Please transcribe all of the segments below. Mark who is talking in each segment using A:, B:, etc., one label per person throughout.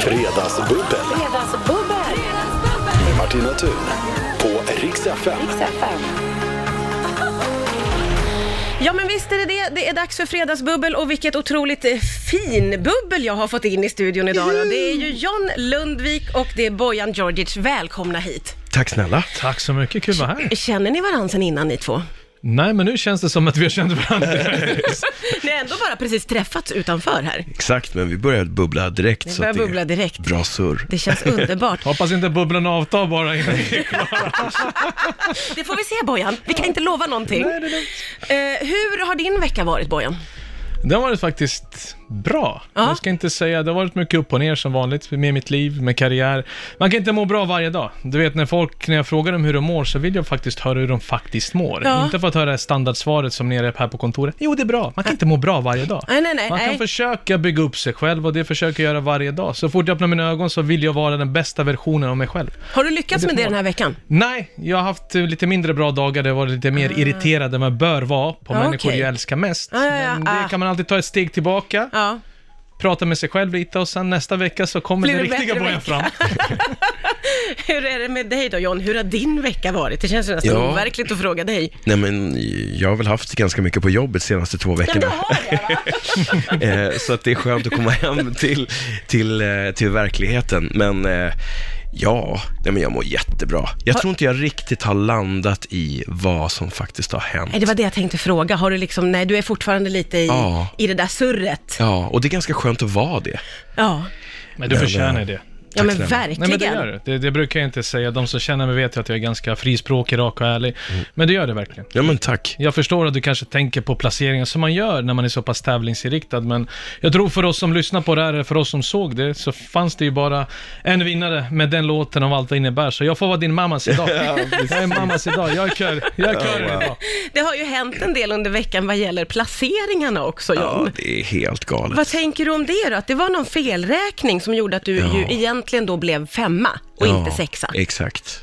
A: Fredagsbubbel
B: Fredagsbubbel!
A: med Martina Thun på Rix FM.
C: Ja men visst är det det. Det är dags för fredagsbubbel och vilket otroligt eh, fin bubbel jag har fått in i studion idag. Då. Det är ju John Lundvik och det är Bojan Djordjic. Välkomna hit.
D: Tack snälla.
E: Tack så mycket, kul att vara här.
C: Känner ni varandra sen innan ni två?
E: Nej, men nu känns det som att vi har känt varandra.
C: Ni har ändå bara precis träffats utanför här.
D: Exakt, men vi började bubbla direkt.
C: Ni
D: så
C: börjar
D: att det är
C: bubbla direkt.
D: Bra surr.
C: Det känns underbart.
E: Hoppas inte bubblan avtar bara innan vi...
C: Det får vi se Bojan. Vi kan inte lova någonting. Eh, hur har din vecka varit Bojan?
E: Det har varit faktiskt bra.
C: Ja.
E: Jag ska inte säga, det har varit mycket upp och ner som vanligt med mitt liv, med karriär. Man kan inte må bra varje dag. Du vet, när folk, när jag frågar dem hur de mår så vill jag faktiskt höra hur de faktiskt mår.
C: Ja.
E: Inte för att höra standardsvaret som nere här på kontoret. Jo, det är bra. Man kan inte må bra varje dag.
C: Nej, nej, nej.
E: Man
C: nej.
E: kan försöka bygga upp sig själv och det försöker jag göra varje dag. Så fort jag öppnar mina ögon så vill jag vara den bästa versionen av mig själv.
C: Har du lyckats med det den här veckan?
E: Nej, jag har haft eh, lite mindre bra dagar där jag varit lite mer irriterad än man bör vara
C: Ja,
E: på människor
C: Ah. okej.
E: jag älskar mest.
C: Ja, ja, ja.
E: Men det
C: Ah.
E: kan man alltid ta ett steg tillbaka,
C: Ja.
E: prata med sig själv lite och sen nästa vecka så kommer
C: Blir
E: den
C: det
E: riktiga
C: bättre
E: bojan
C: vecka?
E: fram.
C: Hur är det med dig då John? Hur har din vecka varit? Det känns ju nästan
D: Ja.
C: overkligt att fråga dig.
D: Nej, men jag har väl haft ganska mycket på jobbet de senaste två veckorna. Eh, så att det är skönt att komma hem till, till, eh, till verkligheten. Men eh, ja, nej, men jag mår jättebra. Jag tror inte jag riktigt har landat i vad som faktiskt har hänt.
C: Nej, det var det jag tänkte fråga. Har du liksom, nej du är fortfarande lite i,
D: Ja.
C: i det där surret.
D: Ja, och det är ganska skönt att vara det.
C: Ja,
E: Men du
D: Nej,
E: förtjänar
D: men-
E: det.
C: ja men
D: snälla.
E: Nej, men det
C: verkligen.
E: gör det. det. Det brukar jag inte säga. De som känner mig vet ju att jag är ganska frispråkig, rak och ärlig. Men det gör det verkligen.
D: Ja, men tack.
E: Jag förstår att du kanske tänker på placeringar som man gör när man är så pass tävlingsinriktad, men jag tror för oss som lyssnar på det här, eller för oss som såg det, så fanns det ju bara en vinnare med den låten om allt det innebär. Så jag får vara din mammas idag. jag är mammas idag, jag är kör, jag är kör idag.
C: Det har ju hänt en del under veckan vad gäller placeringarna också John.
D: Ja, det är helt galet.
C: Vad tänker du om det då? Att det var någon felräkning som gjorde att du
D: Ja.
C: ju egentligen då blev femma och inte
D: Ja,
C: sexa.
D: Exakt.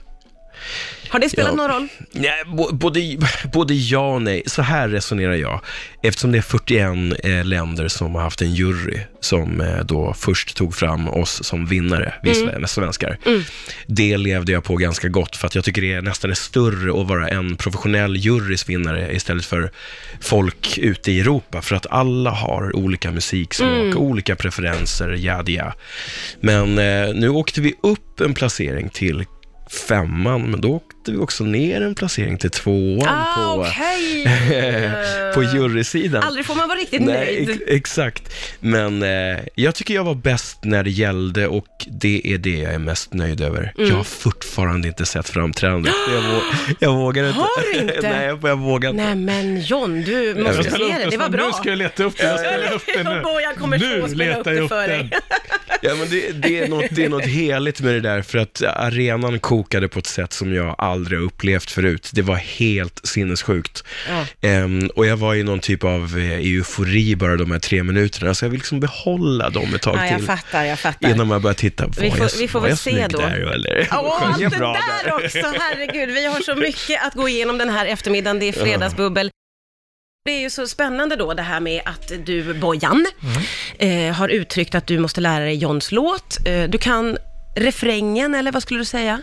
C: Har det spelat
D: Ja.
C: någon roll?
D: Nej, bo- både, både ja och nej. Så här resonerar jag. Eftersom det är 41 eh, länder som har haft en jury som eh, då först tog fram oss som vinnare, vi sve- svenskar. Det levde jag på ganska gott, för att jag tycker det är nästan är större att vara en professionell jurys vinnare istället för folk ute i Europa, för att alla har olika musiksmak, olika preferenser, jadja. Men eh, nu åkte vi upp en placering till femman, men då åkte vi också ner en placering till tvåan
C: Ah,
D: på,
C: okej.
D: på jurysidan.
C: Aldrig får man vara riktigt
D: Nej,
C: nöjd.
D: ex- exakt. Men eh, jag tycker jag var bäst när det gällde och det är det jag är mest nöjd över.
C: Mm.
D: Jag har fortfarande inte sett framträdandet. Jag, vå- jag vågar inte.
C: Har du inte?
D: Nej, jag vågar inte.
C: Nej men John, du måste
D: vet.
C: se det. Det var bra.
E: Nu ska jag leta upp den, jag ska leta upp den nu.
C: Bojan kommer så
E: Nu
C: att spela upp
E: letar
C: det
E: jag upp
C: för dig.
E: den.
D: Ja, men det, det, är något, det är något heligt med det där, för att arenan kokade på ett sätt som jag aldrig har upplevt förut. Det var helt sinnessjukt. Ehm, och jag var i någon typ av eh, eufori bara de här tre minuterna, så jag vill liksom behålla dem ett tag
C: Ja, jag
D: till.
C: fattar, jag fattar.
D: Innan man börjar titta, var
C: Vi får-
D: jag,
C: vi får
D: var
C: väl
D: jag
C: se
D: snygg
C: då.
D: där eller?
C: Åh,
D: Sjöng
C: allt det
D: jag bra
C: där
D: där?
C: också, herregud. Vi har så mycket att gå igenom den här eftermiddagen. Det är fredagsbubbel. Det är ju så spännande då det här med att du, Bojan, eh, har uttryckt att du måste lära dig Johns låt. Eh, du kan refrängen, eller vad skulle du säga?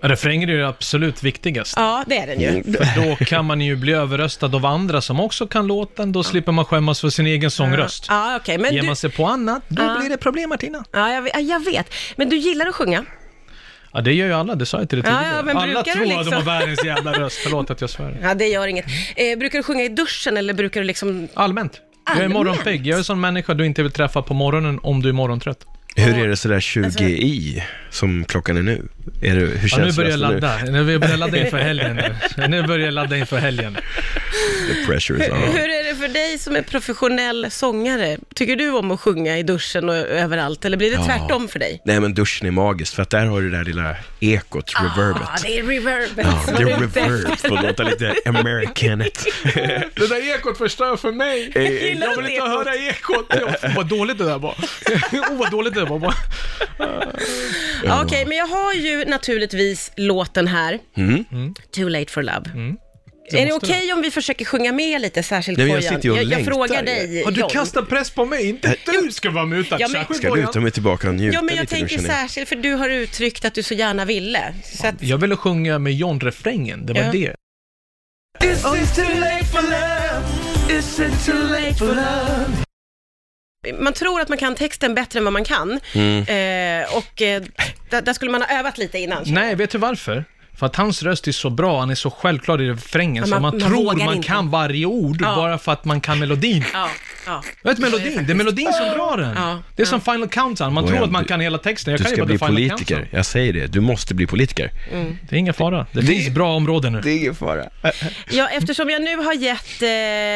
E: Refrängen är ju det absolut viktigaste.
C: Ja, det är den
E: Mm.
C: ju.
E: För då kan man ju bli överröstad av andra som också kan låten, då slipper man skämmas för sin egen sångröst.
C: Ja, okej.
E: Ger
C: Men du,
E: man sig på annat, då
C: Ja.
E: blir det problem Martina.
C: ja, jag, vet- ja, jag vet. Men du gillar att sjunga.
E: Ja, det gör ju alla, det sa jag till dig
C: Ja,
E: tidigare.
C: ja, men
E: alla
C: brukar du
E: tror att de
C: liksom?
E: har världens jävla röst, förlåt att jag svär.
C: Ja, det gör inget. Eh, brukar du sjunga i duschen eller brukar du liksom...
E: Allmänt. Jag är
C: Allmänt?
E: morgonpigg, jag är en sån människa du inte vill träffa på morgonen om du är morgontrött.
D: Hur är det sådär 20
C: Alltså-
D: i, som klockan är nu? Är det, hur känns
E: Ja, nu börjar jag
D: rösten
E: ladda, nu börjar jag ladda inför helgen. nu. Nu börjar jag ladda inför helgen.
D: The pressure is on.
C: Hur är det för dig som är professionell sångare? Tycker du om att sjunga i duschen och överallt, eller blir det
D: Ja.
C: tvärtom för dig?
D: Nej, men duschen är magisk, för att där har du det där lilla ekot, reverbet.
C: Ah. Ja, det är reverbet.
D: Ja,
C: som
D: det
C: är
D: är
C: ute.
D: reverb. Får låta lite americanet.
E: Det där ekot förstör för mig.
C: gillar Jag vill inte ekot. höra
E: ekot. Vad dåligt det där var. Oh, vad dåligt det där var.
C: Ja,
D: Mm.
C: Okej, men jag har ju naturligtvis låten här, Too Late for Love.
E: Det
C: Mm. är det
E: måste
C: okej om vi försöker sjunga med lite, särskilt
D: Nej, men jag
C: Bojan?
D: sitter ju och
C: jag, jag
D: längtar
C: frågar
D: ju.
C: dig,
E: Och du
C: John.
E: kastar press på mig, inte du ska vara med utan
C: Ja, men-
E: särskilt
D: Ska luta
E: Bojan.
D: mig tillbaka och njuta
C: Ja, men jag
D: lite nu,
C: tänker
D: känner jag.
C: särskilt, för du har uttryckt att du så gärna ville. Så att,
E: Jag ville sjunga med John-refrängen, det var
C: Ja.
E: det.
C: man tror att man kan texten bättre än vad man kan.
D: Mm.
C: Eh, och eh, där, där skulle man ha övat lite innan.
D: Mm.
E: Nej, vet du varför? För att hans röst är så bra, han är så självklar i refrängen,
C: Ja,
E: så
C: man-
E: man,
C: man
E: tror
C: vågar
E: man
C: inte.
E: kan varje ord
C: Ja.
E: bara för att man kan melodin.
C: Ja, ja.
E: Vet melodin? Det är melodin som drar den.
C: Ja,
E: Det är som Final Countdown, man
D: Bojan,
E: tror att man
D: du-
E: kan hela texten. Jag
D: Du
E: kan ju
D: ska
E: bara
D: bli
E: The Final
D: politiker,
E: Countdown.
D: jag säger det. Du måste bli politiker.
C: Mm.
E: Det är ingen fara, det finns bra områden nu.
B: Det är ingen fara.
C: ja, eftersom jag nu har gett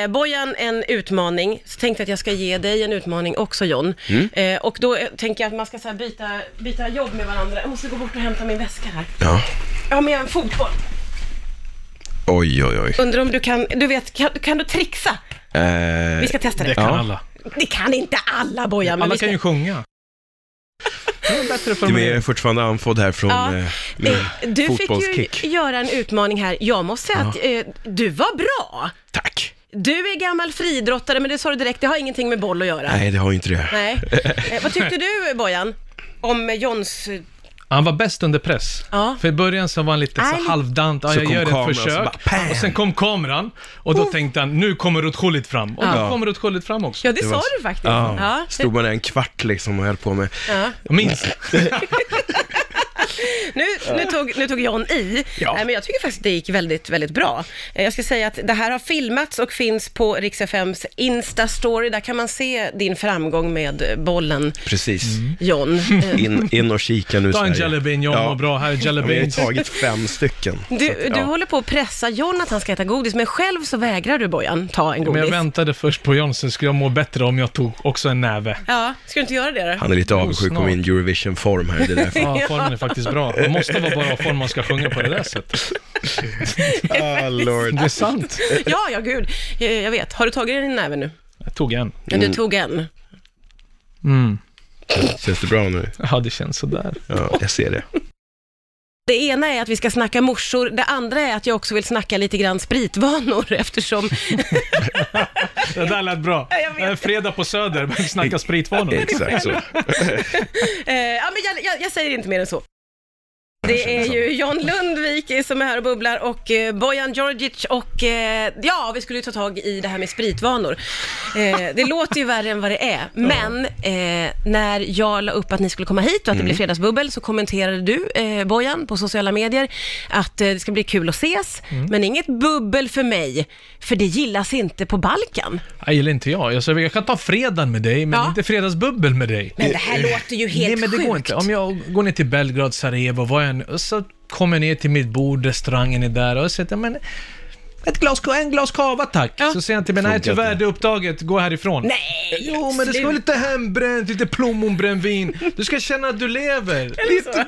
C: eh, Bojan en utmaning, så tänkte jag att jag ska ge dig en utmaning också John. Eh, och då eh, tänker jag att man ska så här byta, byta jobb med varandra. Jag måste gå bort och hämta min väska här.
D: Ja.
C: Jag har med en fotboll.
D: Oj, oj, oj.
C: Undrar om du kan, du vet, kan, kan du trixa?
D: Eh,
C: Vi ska testa det.
E: Det kan
D: Ja.
E: alla.
C: Det kan inte alla Bojan, men
E: Alla
C: vi ska...
E: kan ju sjunga. Det är bättre för
D: men jag
E: mig.
D: är fortfarande andfådd här från
C: Ja.
D: eh, min
C: Eh, Du fick
D: fotbollskick.
C: ju göra en utmaning här. Jag måste säga att eh, du var bra.
D: Tack!
C: Du är gammal friidrottare, men det sa du direkt, det har ingenting med boll att göra.
D: Nej, det har ju inte det.
C: Nej. Eh, vad tyckte du Bojan? Om Johns...
E: Han var bäst under press.
C: Ja.
E: För i början så var han lite
C: Nej.
E: så halvdant, ja,
D: Så
E: jag
D: kom
E: gör
D: kameran
E: ett
D: och så
E: försök.
D: bara, pam.
E: och sen kom kameran, och då tänkte han, nu kommer Rutschullit fram. Och då kommer Rutschullit fram också.
C: Ja, det, sa du faktiskt.
D: Ja.
C: Ja.
D: Stod man där en kvart liksom och höll på med.
C: Ja.
E: Jag minns.
C: Nu, nu, tog, nu tog John i,
D: Ja.
C: Nej, men jag tycker faktiskt det gick väldigt, väldigt bra. Eh, Jag ska säga att det här har filmats och finns på Rix FMs Insta-story. Där kan man se din framgång med eh, bollen,
D: Precis.
E: Mm.
C: John. Eh,
D: In, in och kika nu
E: Ta en
D: Sverige.
E: Jelly Bean, jag mår bra, här är Jelly
D: Ja, men Jag har ju
E: Beans.
D: tagit fem stycken.
C: Du,
D: Så att,
C: du
D: ja.
C: håller på att pressa John att han ska äta godis, men själv så vägrar du Bojan ta en
E: Men jag
C: godis.
E: väntade först på John, sen skulle jag må bättre om jag tog också en näve.
C: Ja, ska du inte göra det då?
D: Han är lite avundsjuk på
E: Oh, snart.
D: min Eurovision-form här. Det är därför.
E: Ja, formen är faktiskt bra. Man måste vara bara i form om man ska sjunga på det där sättet.
D: Ah, Lord.
E: Det är sant.
C: Ja, ja gud. Jag, jag vet. Har du tagit den i näven nu?
E: Jag tog en.
C: Ja,
D: Mm.
C: Du tog en.
D: Känns det bra nu?
E: Ja, det känns sådär.
D: Ja, jag ser det.
C: Det ena är att vi ska snacka morsor, det andra är att jag också vill snacka lite grann spritvanor eftersom
E: Det där lät bra. Eh, Fredag på Söder, men snacka spritvanor.
D: Exakt så.
C: Eh, ja, men jag, jag, jag säger inte mer än så. Det är ju John Lundvik som är här och bubblar och eh, Bojan Djordjic och eh, ja, vi skulle ju ta tag i det här med spritvanor. Eh, det låter ju värre än vad det är, men eh, när jag la upp att ni skulle komma hit och att det
E: Mm.
C: blir fredagsbubbel så kommenterade du, eh, Bojan, på sociala medier att eh, det ska bli kul att ses,
E: Mm.
C: men inget bubbel för mig, för det gillas inte på Balkan.
E: Jag gillar inte jag. Jag, sa, jag kan ta fredagen med dig, men
C: Ja.
E: inte fredagsbubbel med dig.
C: Men det här låter ju helt
E: Nej, men det
C: sjukt.
E: går inte. Om jag går ner till Belgrad, Sarajevo, vad jag än- och så kommer jag ner till mitt bord, restaurangen är där och säger men ett glas, en glas cava tack. Så säger han till mig, nej
D: Funkar
E: tyvärr
D: inte.
E: det är upptaget, gå härifrån.
C: Nej,
E: Jo, men det ska vara lite hembränt, lite plommonbrännvin. Du ska känna att du lever.
B: Lite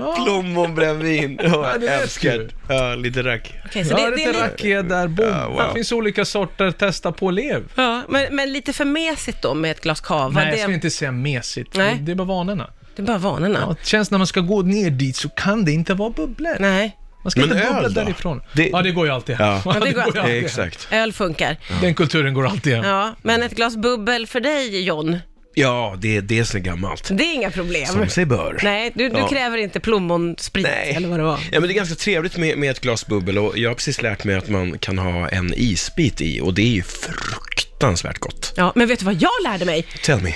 B: plommonbrännvin. Ja,
E: det vet du.
B: älskar. Ja, lite rack.
C: Okej, så
E: Ja,
C: det, det är
E: lite
C: lite...
E: rakia där, boom.
B: Ja,
D: Ah,
B: wow.
E: Det finns olika sorter, testa på och lev.
C: Ja, men, men lite för mesigt då med ett glas cava.
E: Nej, jag
C: det,
E: skulle inte säga mesigt.
C: Nej.
E: Det är bara vanorna.
C: det är bara vanorna.
E: Ja, det känns när man ska gå ner dit så kan det inte vara bubblor.
C: Nej,
E: Man ska
D: Men
E: inte
D: öl
E: bubbla
D: då?
E: därifrån.
D: Det-
E: Ja, det går ju alltid
D: Ja.
E: hem. Ja,
C: det går alltid
E: hem.
D: Exakt.
C: öl funkar.
E: Den kulturen går alltid hem.
C: Ja, men ett glas bubbel för dig John,
D: Ja, det är det som är gammalt.
C: det är inga problem.
D: Som sig bör.
C: Nej, du, du
D: Ja.
C: kräver inte plommonsprit
D: Nej.
C: eller vad det var.
D: Ja, men det är ganska trevligt med, med ett glas bubbel och jag har precis lärt mig att man kan ha en isbit i och det är ju fruktansvärt gott.
C: Ja, men vet du vad jag lärde mig
D: Tell me.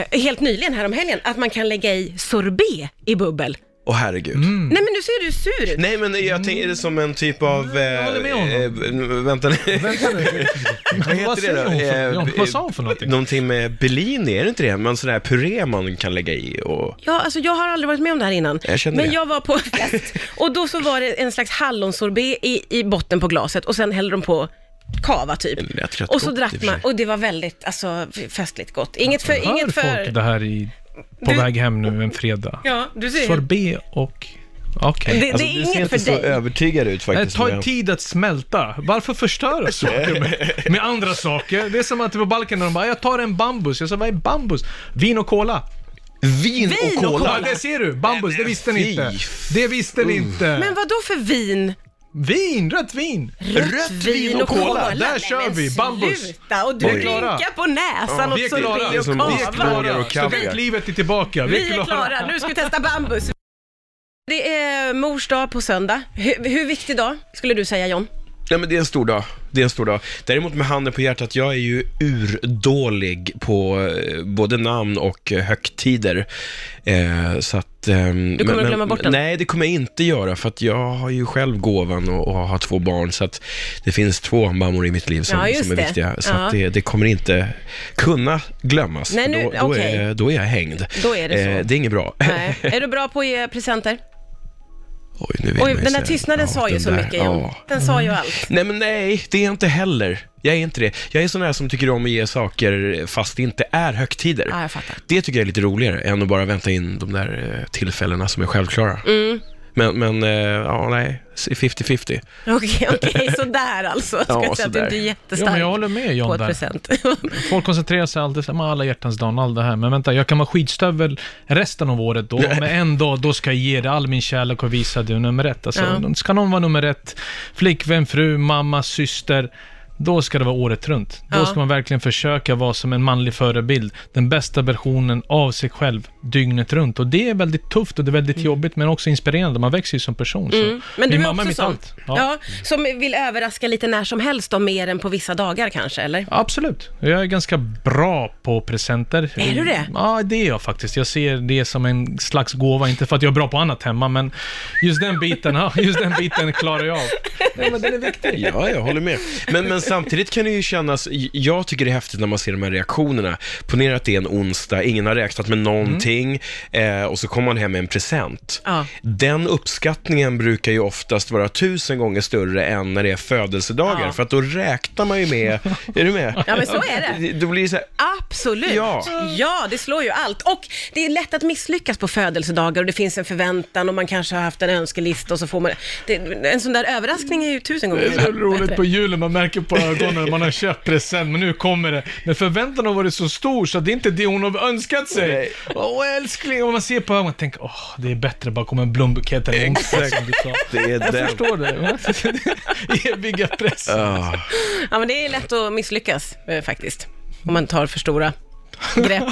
C: eh, helt nyligen här om helgen? Att man kan lägga i sorbet i bubbel.
E: Mm.
D: Åh herregud.
C: Nej, men nu ser du sur ut.
D: Nej men jag tänker det som en typ av... Eh,
E: Mm, jag håller med honom.
D: eh, vänta nu. Vad heter det
E: säger
D: då?
E: hon för-
D: Eh,
E: John, vad sa hon för
D: eh,
E: någonting?
D: Någonting med Bellini, är det inte det? Men sån här puré man kan lägga i och...
C: Ja, alltså jag har aldrig varit med om det här innan.
D: Jag känner
C: men
D: det.
C: jag var på en fest och då så var det en slags hallonsorbet i, i botten på glaset och sen hällde de på kava
D: Det
C: typ.
D: lät rätt
C: Och så
D: gott i och
C: drack
D: för
C: man
D: sig.
C: och det var väldigt alltså, f- festligt gott. Inget för...
E: Hör
C: Inget för
E: folk det här i, på
C: Du-
E: väg hem nu en fredag?
C: ja, du ser.
E: Sorbet och... Okej.
C: Det, det
D: Alltså,
C: är
D: du ser
C: inget
D: inte
C: för
D: så
C: dig.
D: övertygad ut
E: Det
D: faktiskt.
E: tar
D: men-
E: tid att smälta. Varför förstöra saker med, med andra saker? Det är som att på Balkan när de bara, jag tar en bambus. Jag sa, vad är bambus? Vin och cola.
D: Vin
C: Vin och
D: och
E: Ja,
D: cola!
E: det ser du. Bambus, det visste ni
D: fy
E: inte. Det visste ni inte.
C: Men vad då för vin
E: Vin, rött vin!
C: Rött vin och cola.
E: Där
C: Nej,
E: kör
C: men
E: vi, bambus!
C: Sluta, och du
E: Vi är klara.
C: blinkar på näsan
E: Vi är
C: åt
E: klara.
C: sorbet och
D: Som
E: Vi är
C: kava.
D: ostbågar
E: klara,
D: och kaviar.
E: studentlivet är tillbaka.
C: Vi är klara, nu ska vi testa bambus. Det är mors dag på söndag. Hur, hur viktig dag skulle du säga John?
D: Nej, men det är en stor dag. Det är en stor dag. Däremot med handen på hjärtat, jag är ju urdålig på eh, både namn och eh, högtider. Eh, så att, du kommer
C: att glömma bort den?
D: Nej, det kommer jag inte göra, för att jag har ju själv gåvan och, och har två barn, så att det finns två mammor i mitt liv som,
C: Ja, just
D: som är
C: det.
D: viktiga. Så
C: Ja.
D: att det, det kommer inte kunna glömmas.
C: Nej,
D: för
C: nu-
D: då, då,
C: okej.
D: är, då är jag hängd. Eh,
C: Då är det så.
D: det är inget bra.
C: Nej. Är du bra på att ge presenter?
D: Oj, nu vill
C: Oj,
D: man ju
C: den där
D: säga-
C: tystnaden
D: ja,
C: sa ju
D: den
C: så
D: där,
C: mycket John.
D: ja. Mm.
C: Den sa ju allt.
D: Nej, men nej, det är jag inte heller. Jag är inte det. Jag är sån här som tycker om att ge saker fast det inte är högtider.
C: Ja, jag fattar.
D: Det tycker jag är lite roligare än att bara vänta in de där eh, tillfällena som är självklara.
C: Mm.
D: Men, men eh, ja, nej, 50-50.
C: Okej, okej, sådär alltså. Jag ska
D: Ja,
C: säga att du
D: sådär.
C: inte är
E: Jo, men
C: jättestark
E: jag håller med
C: på
E: John
C: ett
E: där.
C: present.
E: Folk koncentrerar sig alltid så här, "Men alla hjärtans dag och allt det här. Men vänta, jag kan vara skitstövel resten av året då, men en dag då ska jag ge dig all min kärlek och visa dig nummer ett. Alltså,
C: Ja.
E: Ska någon vara nummer ett, flickvän, fru, mamma, syster, då ska det vara året runt. Då
C: Ja.
E: ska man verkligen försöka vara som en manlig förebild. Den bästa versionen av sig själv, dygnet runt. Och det är väldigt tufft och det är väldigt jobbigt, men också inspirerande. Man växer ju som person. Så.
C: Mm. Men
E: Min
C: du är
E: mamma
C: också
E: mitt
C: sån.
E: allt.
C: Ja. som vill överraska lite när som helst och mer än på vissa dagar kanske, eller?
E: Absolut. Jag är ganska bra på presenter.
C: Är du det?
E: Ja, det är jag faktiskt. Jag ser det som en slags gåva, inte för att jag är bra på annat hemma, men just den biten, ja, just den biten klarar jag av. Nej, men den är viktig.
D: Ja, jag håller med. Men, men samtidigt kan det ju kännas, jag tycker det är häftigt när man ser de här reaktionerna. Ponera att det är en onsdag, ingen har räknat med någonting eh, och så kommer man hem med en present.
C: Ja.
D: Den uppskattningen brukar ju oftast vara tusen gånger större än när det är födelsedagar,
C: Ja.
D: för att då räknar man ju med, är du med?
C: Ja, men så är det.
D: Då blir det så här,
C: Absolut!
D: Ja.
C: ja, det slår ju allt. Och det är lätt att misslyckas på födelsedagar och det finns en förväntan och man kanske har haft en önskelista och så får man... Det, en sån där överraskning är ju tusen gånger
E: Det är så
C: bättre.
E: roligt på julen, man märker på ögonen, man har köpt present, men nu kommer det. Men förväntan har varit så stor så det är inte det hon har önskat sig. Åh älskling, och man ser på ögonen, man tänker åh, det är bättre att bara komma en blombukett eller en onsdag.
D: det är
E: Jag
D: den.
E: förstår det. va? Eviga pressen.
D: Ah.
C: Ja, men det är lätt att misslyckas eh, faktiskt, om man tar för stora grepp.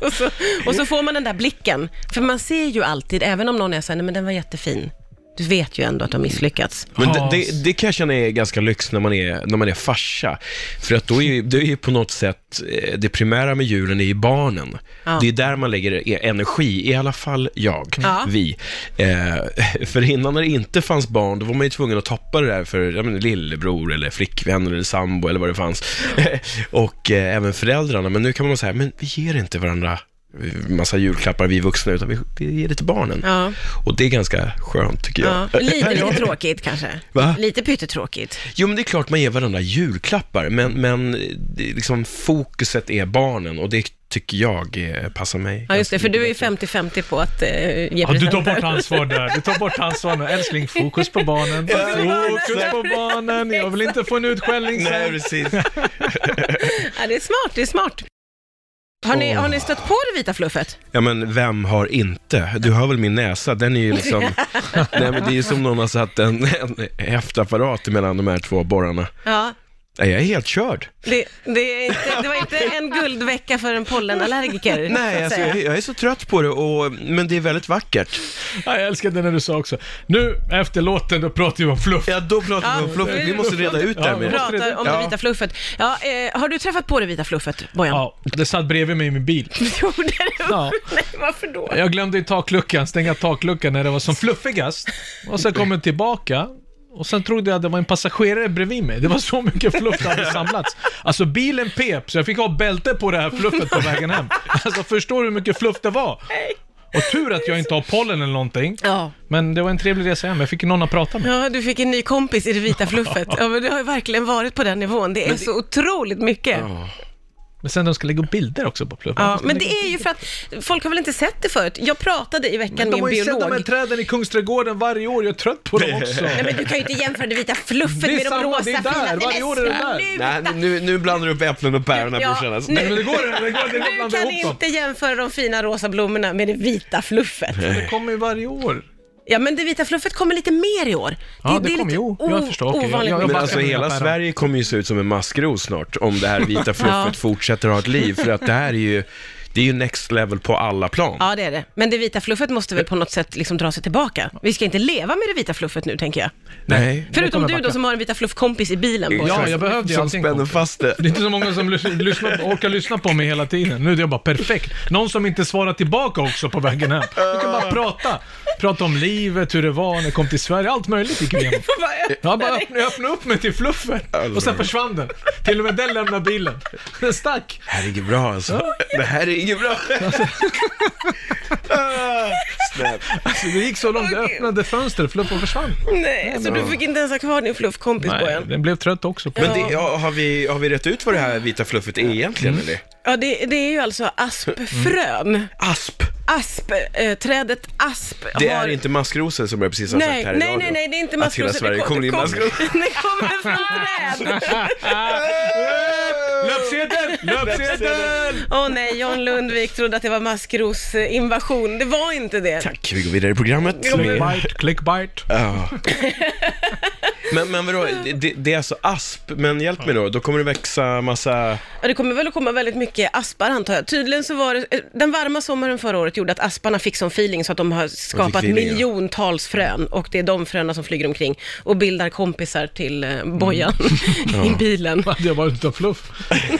C: och, så, och så får man den där blicken, för man ser ju alltid, även om någon är såhär, nej men den var jättefin, du vet ju ändå att du har misslyckats.
D: Men det,
E: Hans.
D: det, det kan jag känna är ganska lyx när man är, när man är farsa. För att då är ju, det är ju på något sätt, eh, det primära med julen är ju barnen.
C: Ja.
D: Det är där man lägger e- energi, i alla fall jag,
C: Ja.
D: vi. Eh, för innan när det inte fanns barn, då var man ju tvungen att toppa det där för jag menar, lillebror eller flickvän eller sambo eller vad det fanns. Och eh, även föräldrarna. Men nu kan man säga, men vi ger inte varandra eh, massa julklappar vi vuxna, utan vi, vi ger det till barnen.
C: Ja.
D: Och det är ganska skönt tycker jag.
C: Ja, lite, lite tråkigt kanske.
D: Va?
C: Lite pyttetråkigt.
D: Jo, men det är klart man ger varandra julklappar, men, men det, är liksom, fokuset är barnen och det tycker jag eh, passar mig.
C: Ja, just det, för du är ju 50-50 på att eh, ge
E: Ja, du tar
C: presenter.
E: bort ansvar där. Du tar bort ansvar nu. Älskling, fokus på barnen. Fokus på barnen. Jag vill inte få en utskällning
D: Nej,
E: sen.
D: precis.
C: Ja, det är smart, det är smart. Har ni, har ni stött på det vita fluffet?
D: Ja, men vem har inte? Du hör väl min näsa? Den är ju liksom... Nej, men det är ju som någon har satt en, en häftapparat mellan de här två borrarna.
C: Ja,
D: Nej, jag är helt körd.
C: det, det, är inte, det var inte en guldvecka för en pollenallergiker. så att
D: Nej, alltså,
C: säga.
D: jag, jag är så trött på det, och, men det är väldigt vackert.
E: Ja, jag älskar det när du sa också. Nu, efter låten, då pratar vi om fluff.
D: Ja, då pratar vi om fluffet. Vi måste reda ut det här med...
C: pratar om det
D: Ja.
C: vita fluffet. Ja, eh, har du träffat på det vita fluffet, Bojan?
E: Ja, det satt bredvid mig i min bil.
C: Du gjorde det?
E: Ja.
C: Nej, varför då?
E: Jag glömde i takluckan, stänga takluckan när det var som fluffigast. Och sen kom jag tillbaka. Och sen trodde jag att det var en passagerare bredvid mig. Det var så mycket fluff det hade samlats. Alltså bilen pep, så jag fick ha bälte på det här fluffet på vägen hem. Alltså förstår du hur mycket fluff det var? Och tur att jag inte har pollen eller någonting.
C: Ja.
E: Men det var en trevlig resa hem, jag fick någon att prata med.
C: Ja, du fick en ny kompis i det vita fluffet. Ja, men du har ju verkligen varit på den nivån. Det är så otroligt mycket.
E: Men sen de ska lägga upp bilder också på pluppen.
C: Ja, men det är ju för att folk har väl inte sett det förut. Jag pratade i veckan med
E: de
C: en
E: har ju sett de här
C: biolog.
E: träden i Kungsträdgården varje år, jag är trött på dem också.
C: Nej, men du kan ju inte jämföra det vita fluffet
E: Det är
C: med de
E: samma,
C: rosa
E: det är där.
C: fina. Nej,
E: Varje
C: men
E: år är det där.
C: sluta.
D: Nej, nu, nu blandar du upp äpplen och päron här
C: Ja,
D: brorsan. alltså.
E: Nej, men det går, det går, det går, att
C: Du
E: blanda
C: kan
E: ihop dem.
C: inte jämföra de fina rosa blommorna med det vita fluffet.
E: Det kommer ju varje år.
C: Ja, men det vita fluffet kommer lite mer i år.
E: Ja, det kommer, jo. Jag förstår. Okej, jag-
C: ovanligt
E: jag- jag
D: Men
E: bara-
C: mycket.
D: alltså hela
E: bara-
D: Sverige kommer ju se ut som en maskros snart om det här vita fluffet
C: Ja.
D: fortsätter att ha ett liv. För att det här är ju, det är ju next level på alla plan.
C: Ja, det är det. Men det vita fluffet måste väl på något sätt liksom dra sig tillbaka. Vi ska inte leva med det vita fluffet nu, tänker jag.
D: Nej.
C: Förutom
E: kommer
C: du då
E: backa.
C: som har en vita fluffkompis i bilen. På.
E: Ja, jag behövde ju
D: Som
E: allting,
D: spänner
E: kompis.
D: fast det.
E: Det är inte så många som lys- lyssnar, på- orkar lyssna på mig hela tiden. Nu är jag bara perfekt. Någon som inte svarar tillbaka också på vägen hem. Du kan bara prata. Prata om livet, hur det var när jag kom till Sverige. Allt möjligt gick vi igenom. Jag bara öppnade, jag öppnade upp mig till fluffet och sen försvann den. Till och med den lämnade bilen. Den stack.
D: Det här är inget bra alltså. Det här är inget bra.
E: Så det gick så långt, jag öppnade fönstret, fluffen försvann.
C: Nej, så du fick inte ens ha kvar din fluffkompis,
E: Nej,
C: Bojan?
E: den blev trött också. På.
D: Men det, ja, har, vi, har vi rätt ut vad det här vita fluffet är egentligen
C: Mm.
D: eller?
C: Ja, det, det är ju
E: Mm.
C: alltså aspfrön.
D: Asp.
C: Asp, eh, trädet asp
D: Det
C: har...
D: är inte maskrosen som jag precis har
C: Nej,
D: sagt här i
C: nej,
D: radion.
C: nej, nej, det är inte
D: Att hela
C: maskrosor.
D: Sverige kommer in maskros.
C: Det kommer från träd.
E: Löpsedeln! Löpsedeln!
C: Åh nej, John Lundvik trodde att det var maskrosinvasion. Det var inte det.
D: Tack, vi går vidare i programmet.
E: Clickbite, clickbite.
D: Ja. men, men vadå, det, det är alltså asp, men hjälp mig då, då kommer det växa massa...
C: Ja, Det kommer väl att komma väldigt mycket aspar antar jag. Tydligen så var det, eh, den varma sommaren förra året gjorde att asparna fick sån feeling så att de har skapat
D: feeling, ja.
C: miljontals frön och det är de fröna som flyger omkring och bildar kompisar till eh,
D: Mm.
C: Bojan i bilen.
E: Hade jag varit utan fluff.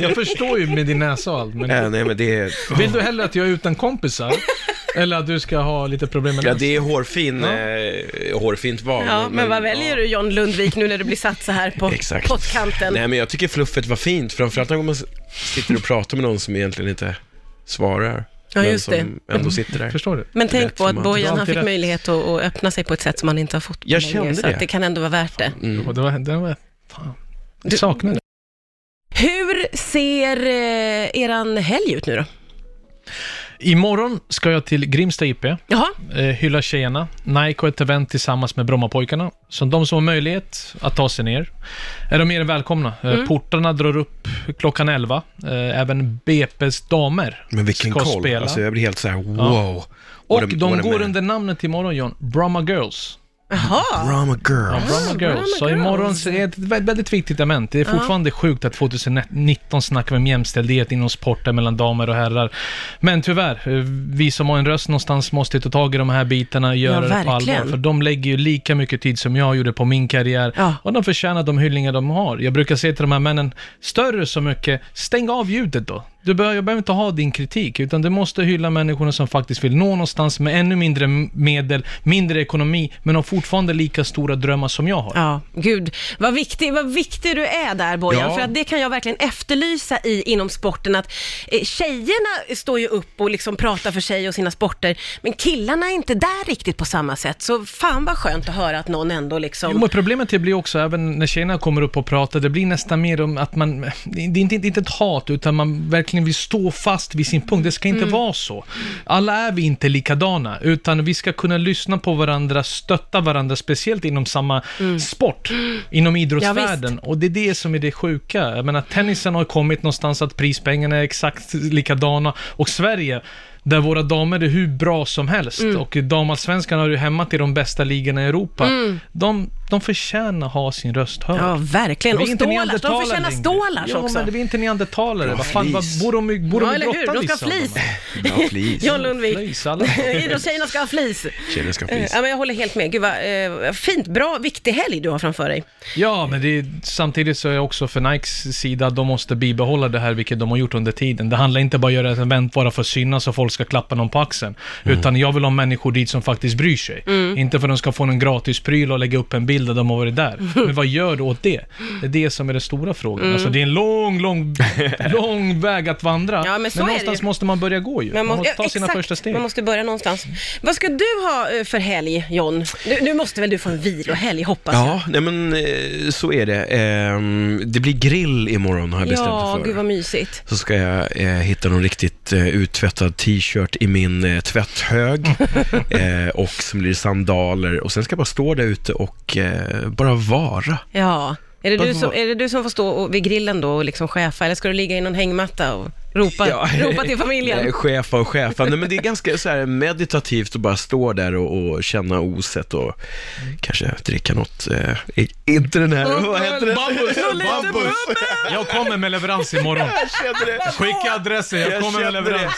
E: Jag förstår ju med din näsa och allt, men
D: Äh, nej men det är...
E: Vill du hellre att jag är utan kompisar? Eller att du ska ha lite problem med
D: Ja,
E: näsan?
D: det är hårfin, eh, hårfint val.
C: Ja, men vad väljer du John Lundvik nu när du blir satt så här på
D: Exakt.
C: pottkanten?
D: Nej men jag tycker fluffet var fint, framförallt när man s- sitter och pratar med någon som egentligen inte svarar.
C: Ja, just Mm.
D: men som ändå sitter där.
E: Förstår du?
C: Men tänk
D: Rätt
C: på att
D: man.
E: Du har
C: Bojan, han
E: alltid
C: fick
E: rätt.
C: möjlighet att, att öppna sig på ett sätt som han inte har fått på
D: Jag
C: länge,
D: kände
C: så att
D: det.
C: det kan ändå vara värt det.
D: Mm.
E: Och det var, den var, fan. Jag saknar det.
C: Hur ser eh, eran helg ut nu då?
E: Imorgon ska jag till Grimsta IP, eh,
C: Jaha,
E: hylla tjejerna. Nike har ett event tillsammans med Brommapojkarna. Så de som har möjlighet att ta sig ner är de mer än välkomna. Eh, Portarna drar upp klockan 11. Eh, även BP's damer
D: Men vilken
E: ska
D: koll,
E: spela.
D: alltså jag blir helt så här: wow.
E: Och
D: Vad
E: de,
D: vad
E: går
D: med.
E: under namnet imorgon, John. Bromma Girls.
C: jaha.
D: Brahma
E: Ja,
D: girl.
E: Bromma Girls.
C: Bromma
E: så
C: Girls.
E: imorgon så är det ett vä- väldigt viktigt event. Det är fortfarande sjukt att 2019 snackar vi om jämställdhet inom sporten mellan damer och herrar. Men tyvärr, eh, vi som har en röst någonstans måste ta tag i de här bitarna och göra det på
C: verkligen.
E: allvar. För de lägger ju lika mycket tid som jag gjorde på min karriär.
C: Ja.
E: Och de förtjänar de hyllningar de har. Jag brukar säga till de här männen, större så mycket, stäng av ljudet då. Du behöver, jag behöver inte ha din kritik, utan du måste hylla människorna som faktiskt vill nå någonstans med ännu mindre m- medel, mindre ekonomi, men har fortfarande lika stora drömmar som jag har.
C: Ja, gud. Vad viktig, vad viktig du är där Bojan,
D: Ja.
C: för att det kan jag verkligen efterlysa i, inom sporten att eh, tjejerna står ju upp och liksom pratar för sig och sina sporter, men killarna är inte där riktigt på samma sätt. Så fan vad skönt att höra att någon ändå liksom...
E: Jo, men problemet det blir också, även när tjejerna kommer upp och pratar, det blir nästan mer om att man, det är inte, det är inte ett hat, utan man verkligen vill stå fast vid sin punkt. Det ska inte vara så. Alla är vi inte likadana, utan vi ska kunna lyssna på varandra, stötta varandra, speciellt inom samma sport, inom idrottsvärlden. och det är det som är det sjuka. Jag menar, tennisen har kommit någonstans att prispengarna är exakt likadana, och Sverige, där våra damer är hur bra som helst
C: Mm.
E: och damallsvenskan har ju hemma till de bästa ligorna i Europa. De, de förtjänar ha sin röst hörd.
C: Mm. Ja, verkligen.
E: Vi är
C: Och
E: inte
C: stålars, de
E: neandertalare
C: förtjänar
E: längre.
C: stålars
E: ja,
C: också.
E: men vi är inte neandertalare. Vad fan, vad,
D: flis.
E: bor de, i- bor de
C: Ja,
E: i
C: eller hur?
E: grottan
C: De ska ha
E: liksom?
C: flis.
D: Ja, please.
C: John Lundvik.
E: Flis, alla.
C: Idrottstjejerna ska ha flis.
D: Tjejer ska ha
C: Eh,
D: flis.
C: Ja, men jag håller helt med. Gud vad eh, fint, bra, viktig helg du har framför dig.
E: Ja, men det är, samtidigt så är jag också för Nikes sida, de måste bibehålla det här, vilket de har gjort under tiden. Det handlar inte bara om att göra ett event bara för att synas och folk ska klappa någon på axeln.
C: Mm.
E: Utan jag vill ha människor dit som faktiskt bryr sig. Inte för att de ska få någon gratis pryl och lägga upp en bild där de har varit där.
C: Mm.
E: Men vad gör du åt det? Det är det som är den stora frågan. Alltså det är en lång, lång, lång väg att vandra.
C: Ja, men så är det ju.
E: någonstans måste man börja gå ju. Man,
C: må-
E: måste
C: ja,
E: ta sina
C: exakt.
E: första steg.
C: Man måste börja någonstans. Vad ska du ha eh, för helg, John? Nu, nu måste väl du få en vilohelg, hoppas jag.
D: Ja, nej men eh, så är det. Ehm, Det blir grill imorgon har jag bestämt mig
C: Ja,
D: för.
C: gud vad mysigt.
D: så ska jag eh, hitta någon riktigt eh, uttvättad t-shirt i min eh, tvätthög eh, och så blir det sandaler och sen ska jag bara stå där ute och eh, bara vara.
C: Ja. Är det, du
D: Varför
C: som,
D: var-
C: är det du som får stå och, vid grillen då och liksom chefa, eller ska du ligga i någon hängmatta? Och... Ropa,
D: Ja.
C: ropa till familjen.
D: Nej, chef och chef. Nej, men det är ganska så här meditativt att bara stå där och, och känna oset och kanske dricka något. Eh, i- inte den här, vad heter det?
E: Bambus!
D: Bambus.
E: Jag kommer med leverans imorgon. Skicka adressen, jag
D: Jag
E: kommer med
D: kände det.
E: leverans.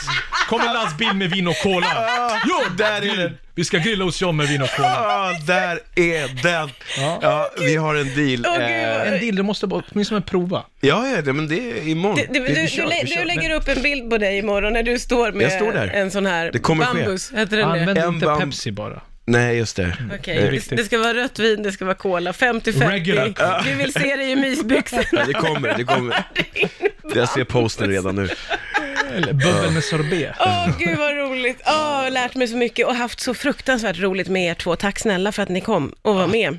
E: Kommer lastbil med vin och cola. Jo,
D: där är den.
E: Vi ska grilla hos John med vin och cola.
D: Ja, Ah, där är den! Ja, vi har en deal.
C: Åh,
D: Eh,
E: En
C: gud.
E: deal, du måste bara åtminstone prova.
D: ja, ja, det- men det är imorgon.
C: Du, du,
D: Vi- vi
C: du,
D: kör,
C: du, lä-
D: vi
C: du
D: kör.
C: lägger upp en bild på dig imorgon när du står med
D: Jag står där.
C: en sån här
D: Det kommer ske.
C: bambus. Heter den det?
E: Använd
D: En
E: inte
D: bam-
E: Pepsi bara.
D: Nej, just det.
C: Okej,
E: Det är
C: det,
E: viktigt.
C: det ska vara rött vin, det ska vara cola, 50-50.
E: Regular.
C: Vi vill se dig i
D: Ja,
C: mysbyxorna.
D: det kommer, det kommer. Jag ser posten redan nu.
E: Eller bubbel med sorbet.
C: Åh, gud vad roligt. Åh, lärt mig så mycket och haft så fruktansvärt roligt med er två. Tack snälla för att ni kom och var med.